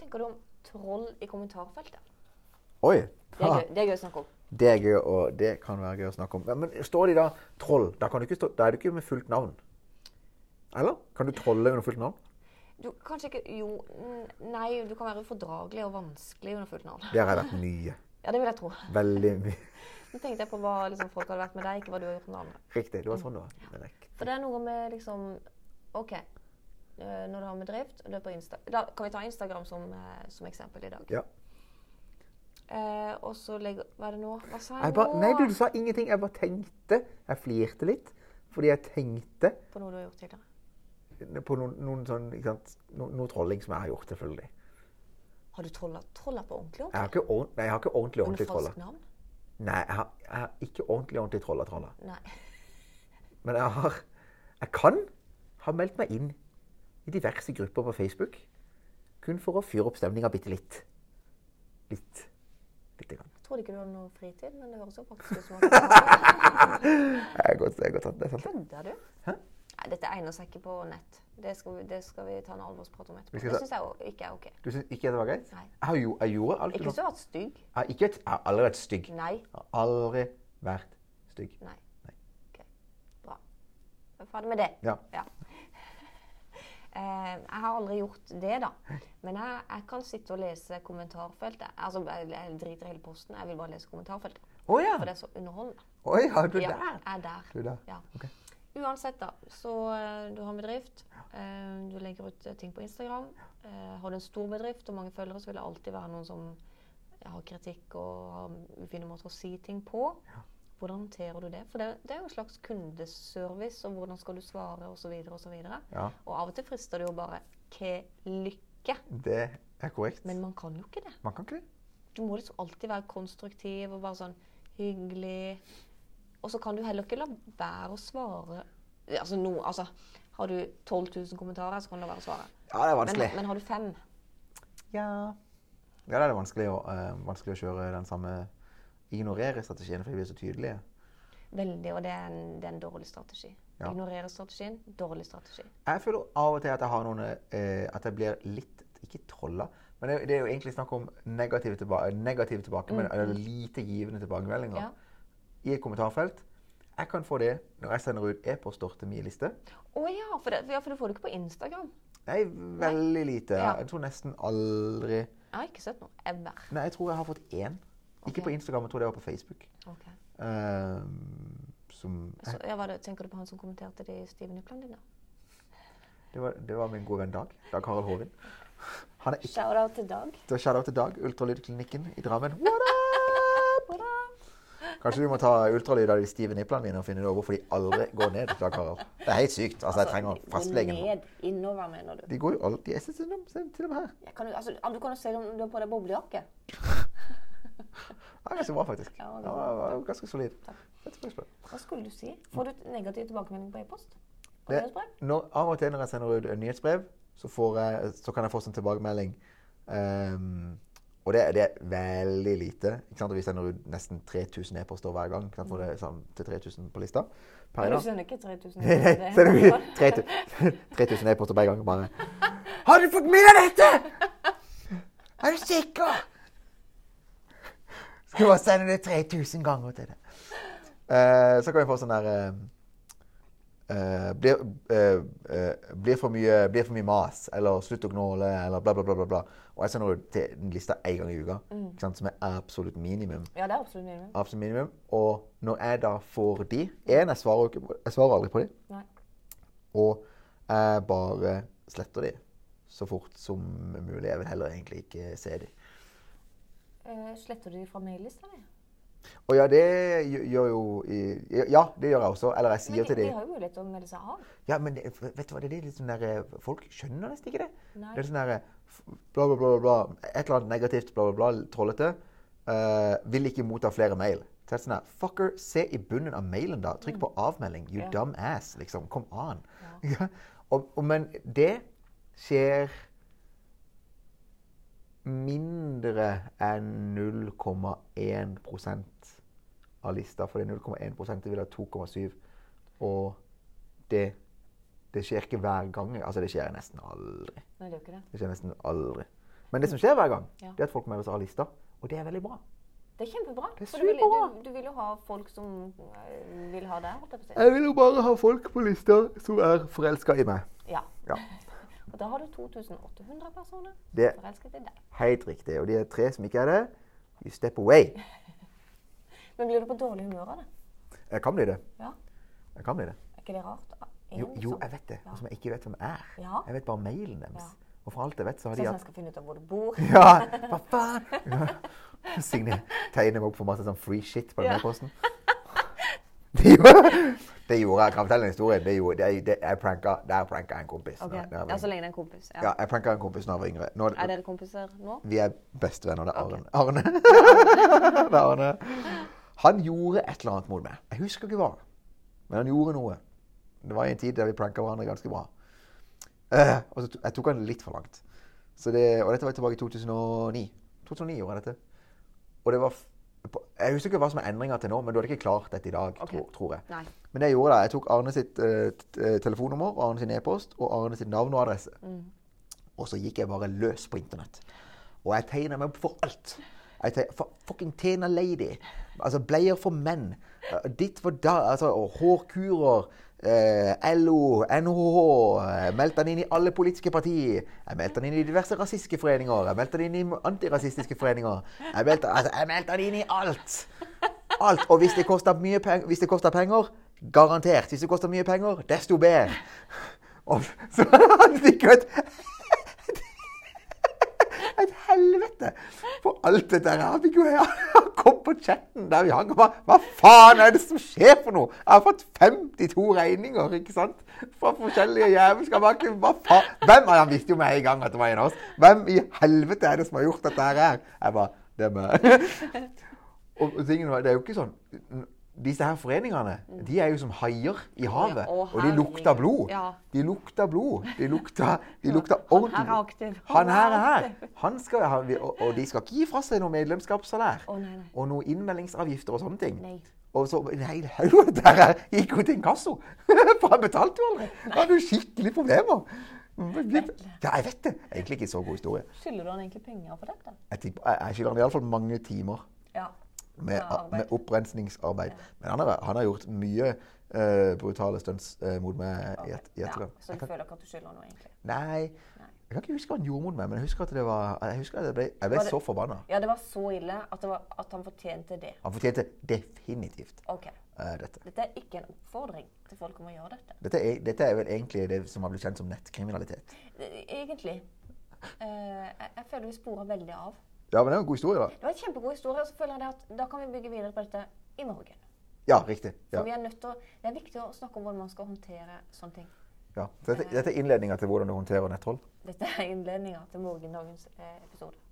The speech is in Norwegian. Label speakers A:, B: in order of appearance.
A: tenker du om troll i kommentarfeltet?
B: Oi!
A: Det er gøy, det er gøy å snakke om.
B: Det er gøy, og det kan være gøy å snakke om. Men står de da troll? Da, kan du ikke stå, da er du ikke med fullt navn. Eller? Kan du trolle under fullt navn?
A: Du, kanskje ikke Jo, n- nei, du kan være ufordragelig og vanskelig under fullt navn.
B: Det har jeg vært mye.
A: Ja, det vil jeg tro.
B: Veldig mye.
A: Nå tenkte jeg på hva liksom, folk hadde vært med deg, ikke hva du har gjort med den andre.
B: Riktig. Det var sånn det var. Det er riktig.
A: For det er noe med liksom OK. eh, Når du har med drift og du er på Insta da Kan vi ta Instagram som, eh, som eksempel i dag?
B: Ja.
A: Eh, og så legger Hva er det nå? Hva sa jeg,
B: Jeg bare,
A: nå?
B: nei, du, du sa ingenting. Jeg bare tenkte. Jeg flirte litt. Fordi jeg tenkte
A: På noe du har gjort tidligere.
B: på noen, noen sånn, ikke sant? No, noe trolling som jeg har gjort, selvfølgelig.
A: Har du trolla, trolla på ordentlig?
B: Jeg har ikke, ordent, nei, jeg har ikke ordentlig
A: Under
B: ordentlig trolla.
A: falskt navn?
B: Nei, jeg har, jeg har ikke ordentlig ordentlig trolla trolla.
A: Nei.
B: Men jeg har Jeg kan ha meldt meg inn i diverse grupper på Facebook kun for å fyre opp stemninga bitte litt. Litt. Lite grann.
A: Jeg trodde ikke du hadde noe fritid, men det høres jo faktisk ut som at du har
B: Jeg er godt, jeg er godt tatt. Det er sant.
A: Kødder du?
B: Hæ?
A: Nei, dette egner seg ikke på nett. Det skal vi, det skal vi ta en alvorsprat om etterpå.
B: Vi skal
A: Det
B: ta-
A: syns jeg jo ikke er OK.
B: Du syns ikke det var greit?
A: Nei.
B: Jeg, har jo, jeg gjorde alt
A: Ikke
B: du
A: hvis du har vært stygg.
B: Jeg har ikke vært- jeg har aldri vært stygg.
A: Nei.
B: Jeg har aldri vært stygg.
A: Nei.
B: Nei.
A: OK. Bra. Jeg er ferdig med det.
B: Ja.
A: Eh, jeg har aldri gjort det, da. Men jeg, jeg kan sitte og lese kommentarfeltet. Altså, jeg, jeg driter i hele posten. Jeg vil bare lese kommentarfeltet.
B: Å ja!
A: For det er så underholdende.
B: Oi, ja, du
A: Ja,
B: der.
A: jeg er der.
B: Du der.
A: Ja.
B: Ok.
A: Uansett, da. Så eh, du har en bedrift. eh, Du legger ut eh, ting på Instagram. eh, Har du en stor bedrift og mange følgere, så vil det alltid være noen som har kritikk og har ufine måter å si ting på. Hvordan håndterer du det? For det, det er jo en slags kundeservice, og hvordan skal du svare, osv. osv.
B: Ja,
A: Og av og til frister det jo bare Ke lykke!
B: det er korrekt.
A: Men man kan jo ikke det.
B: Man kan ikke det.
A: Du må liksom alltid være konstruktiv og bare sånn hyggelig. Og så kan du heller ikke la være å svare. Altså, no, altså Har du 12 000 kommentarer, så kan du la være å svare.
B: Ja, det er
A: Men,
B: vanskelig.
A: men har du fem?
B: Ja. ja, da er det vanskelig å, eh, vanskelig å kjøre den samme ignorere-strategien, for de blir så tydelige.
A: Veldig, og det er en, det er en dårlig strategi.
B: Ja.
A: Ignorere strategien. Dårlig strategi.
B: Jeg føler av og til at jeg har noen eh, At jeg blir litt Ikke trolla, men det, det er jo egentlig snakk om negative, tilba negative tilbakemeldinger, eller lite givende tilbakemeldinger,
A: Mm, Ja.
B: i et kommentarfelt. Jeg kan få det når jeg sender ut e-poster til min liste.
A: Å ja, for det, ja, for det får du ikke på Instagram.
B: Nei, veldig lite.
A: Ja.
B: Jeg tror nesten aldri
A: Jeg har ikke sett noe ever.
B: Nei, jeg tror jeg har fått én. Ikke
A: Ok.
B: på Instagram, jeg tror det var på Facebook.
A: Ok.
B: Ehm, som
A: Så, ja, hva er det, tenker du på han som kommenterte de Steven Nypland dine?
B: det, var, det var min gode venn Dag. Dag Harald Hovin. Han er ikke
A: Shout-out til Dag.
B: Så Shout-out til Dag, ultralydklinikken i Drammen. What
A: What up?
B: up? Kanskje du må ta ultralyd av de stive nipplene mine og finne ut hvorfor de aldri går ned. Dag Harald. Det er helt sykt. Altså, jeg trenger fastlegen. nå.
A: Ned innover, mener du?
B: De går jo alltid Jeg ser til dem, se til dem her.
A: Jeg kan, jo- altså, du kan jo se om du har på deg boblejakke.
B: Det er ganske bra, faktisk.
A: Ja,
B: Ja,
A: det
B: det var ganske solid. Setter pris på det.
A: Hva skulle du si? Får du negativ tilbakemelding på e-post? På
B: Det-
A: nyhetsbrev?
B: Når, av og til når jeg sender ut en nyhetsbrev, så, får jeg, så kan jeg få sånn tilbakemelding. Ehm, og det, det er veldig lite. Ikke sant? Og vi sender ut nesten 3000 e-poster hver gang. Ikke sant? For det er sammen til 3000 på lista. Per
A: Du
B: dag.
A: skjønner ikke 3000
B: Nei, nei, så er det mye. 3000 3000 e-poster hver gang. Bare Har du fått med deg dette?! Er du sikker? Skal bare sende det 3000 ganger til deg. Eh, så kan vi få sånn der eh, eh, blir, eh, eh, blir, for mye, blir for mye mas, eller slutt å gnåle, eller bla, bla, bla. bla, bla. Og jeg sender ut til den lista én gang i uka, ikke sant? som er absolutt minimum
A: Ja, det er absolutt minimum.
B: absolutt minimum. Og når jeg da får de En, jeg svarer, jo ikke på, jeg svarer aldri på de.
A: Nei.
B: Og jeg bare sletter de så fort som mulig. Jeg vil heller egentlig ikke se de.
A: Eh, sletter du de fra maillista di?
B: Og ja, det gjø- gjør jo i- Ja, det gjør jeg også. Eller
A: Men
B: jeg sier
A: de,
B: til de
A: de har jo mulighet til å melde seg av.
B: Ja, men det, vet du hva, det er litt sånn der eh, Folk skjønner nesten ikke det.
A: Nei.
B: Det er sånn der eh, f- bla, bla, bla, bla, bla. Et eller annet negativt, bla, bla, bla, trollete. Eh, vil ikke motta flere mail. Så er det sånn her, Fucker, se i bunnen av mailen, da. Trykk på avmelding. You
A: Mm. Ja.
B: dumb ass. Liksom. Kom an. Ja. Og, og, men det skjer mindre enn 0,1 av lista. For det er 0,1 det vil ha 2,7. Og det, det skjer ikke hver gang. Altså, det skjer nesten aldri.
A: Nei, det er jo ikke det.
B: Det skjer nesten aldri. Men det som skjer hver gang,
A: Ja.
B: det er at folk melder seg av lista. Og det er veldig bra.
A: Det er kjempebra.
B: Det er
A: for du vil, du,
B: superbra.
A: du vil jo ha folk som eh, vil ha deg, holdt jeg på å si.
B: Jeg vil jo bare ha folk på lista som er forelska i meg.
A: Ja.
B: Ja.
A: Og da har du 2800 personer som
B: Det-
A: er forelsket i deg.
B: Helt riktig. Og de er tre som ikke er det. You step away.
A: Men blir du på dårlig humør av det?
B: Jeg kan bli det.
A: Ja.
B: Jeg kan bli det.
A: Er ikke det rart?
B: Jo,
A: Egentlig
B: jo
A: sånn.
B: jeg vet det. Og som jeg ikke vet hvem er.
A: Ja.
B: Jeg vet bare mailen deres.
A: Ja.
B: Og for alt jeg vet, så har
A: Sånn
B: de
A: som
B: hatt
A: jeg skal finne ut av hvor du bor.
B: Ja, hva faen? Ja. Signe tegner meg opp for masse sånn free shit på den
A: Ja.
B: posten. Det gjorde, det gjorde jeg. Kan fortelle en historie. Det gjorde, det, det, jeg pranka, der pranka jeg en kompis.
A: Ok,
B: Når jeg- når jeg var
A: Ja, altså, så
B: yngre.
A: lenge det er en kompis.
B: ja,
A: Ja.
B: jeg pranka en kompis da jeg var yngre. Nå,
A: Er dere kompiser nå?
B: vi er bestevenner. Det er
A: Ok.
B: Arne. Arne. det er Arne. Han gjorde et eller annet mot meg. Jeg husker ikke hva. Men han gjorde noe. Det var i en tid der vi pranka hverandre ganske bra. Eh, og så to, jeg tok han litt for langt. Så det, og dette var tilbake i 2009. 2009 gjorde jeg dette. Og det var f- på- Jeg husker ikke hva som er endringa til nå, men du hadde ikke klart dette i dag,
A: Ok.
B: tror, tror jeg.
A: Nei.
B: Men det jeg gjorde da, jeg tok Arne sitt eh, t- eh, telefonnummer, og Arne sin e-post og Arne sitt navn og adresse. Og så gikk jeg bare løs på internett. Og jeg tegna meg opp for alt. Jeg teg- for fucking Tena Lady. Altså bleier for menn. eh, Ditt for da altså, og Hårkurer. Eh, LO, NHH. Jeg meldte han inn i alle politiske partier. Jeg meldte han inn i diverse rasistiske foreninger. Jeg meldte han inn i antirasistiske foreninger. Jeg meldte, altså, jeg meldte han inn i alt! Alt. Og hvis det koster mye penger, hvis det koster penger garantert. Hvis det koster mye penger, desto bedre. Og så han fikk jo et et helvete for alt dette her. Han fikk jo han kom på chatten der vi hang og bare Hva faen er det som skjer for noe? Jeg har fått 52 regninger, ikke sant? Fra forskjellige jævelskap. Han kunne- Hva faen? Hvem er Han visste jo med en gang at det var en av oss. Hvem i helvete er det som har gjort dette her? Jeg bare Det er meg. Og og tingen var, det er jo ikke sånn Disse her foreningene de er jo som haier i havet.
A: Å,
B: og de lukter
A: herregud.
B: blod.
A: Ja.
B: De lukter blod. De lukter, de lukter
A: Han
B: ordentlig
A: her er aktiv.
B: Han her
A: Han
B: er
A: er
B: her. Han skal, han, vi- og, og de skal ikke gi fra seg noe medlemskapssalær.
A: Å, nei, nei.
B: Og noen innmeldingsavgifter og sånne ting.
A: Nei.
B: Og så en hel haug av dette her gikk jo til inkasso! For han betalte jo aldri! Han hadde jo skikkelig problemer. Ja, jeg vet det. Egentlig ikke så god historie.
A: Skylder du han egentlig penger for dette?
B: Jeg, tipper- jeg- jeg skylder han iallfall mange timer
A: Ja.
B: med,
A: Ja, arbeid.
B: med opprensningsarbeid. Men han har, han har gjort mye eh, brutale stunts eh, mot meg i, et, i etterkant.
A: Så du føler ikke at du skylder han noe, egentlig?
B: Nei. Jeg kan ikke huske hva han gjorde mot meg, men jeg husker at, det var, jeg husker at jeg ble, jeg
A: Var
B: ble
A: det-
B: så forbanna.
A: Ja, det var så ille at, det var, at han fortjente det.
B: Han fortjente definitivt
A: Ok.
B: eh, dette.
A: Dette er ikke en oppfordring til folk om å gjøre dette.
B: Dette er, dette er vel egentlig det som har blitt kjent som nettkriminalitet.
A: E- Egentlig. Eh, jeg, jeg føler vi sporer veldig av.
B: Ja, men det er jo en god historie, da.
A: Det var en kjempegod historie, og så føler jeg det at da kan vi bygge videre på dette i morgen.
B: Ja, riktig.
A: For
B: Ja,
A: vi er nødt til å, Det er viktig å snakke om hvordan man skal håndtere sånne ting.
B: ja. Så Dette, dette er innledninga til hvordan du håndterer nettroll.
A: Dette er innledninga til morgendagens eh, episode.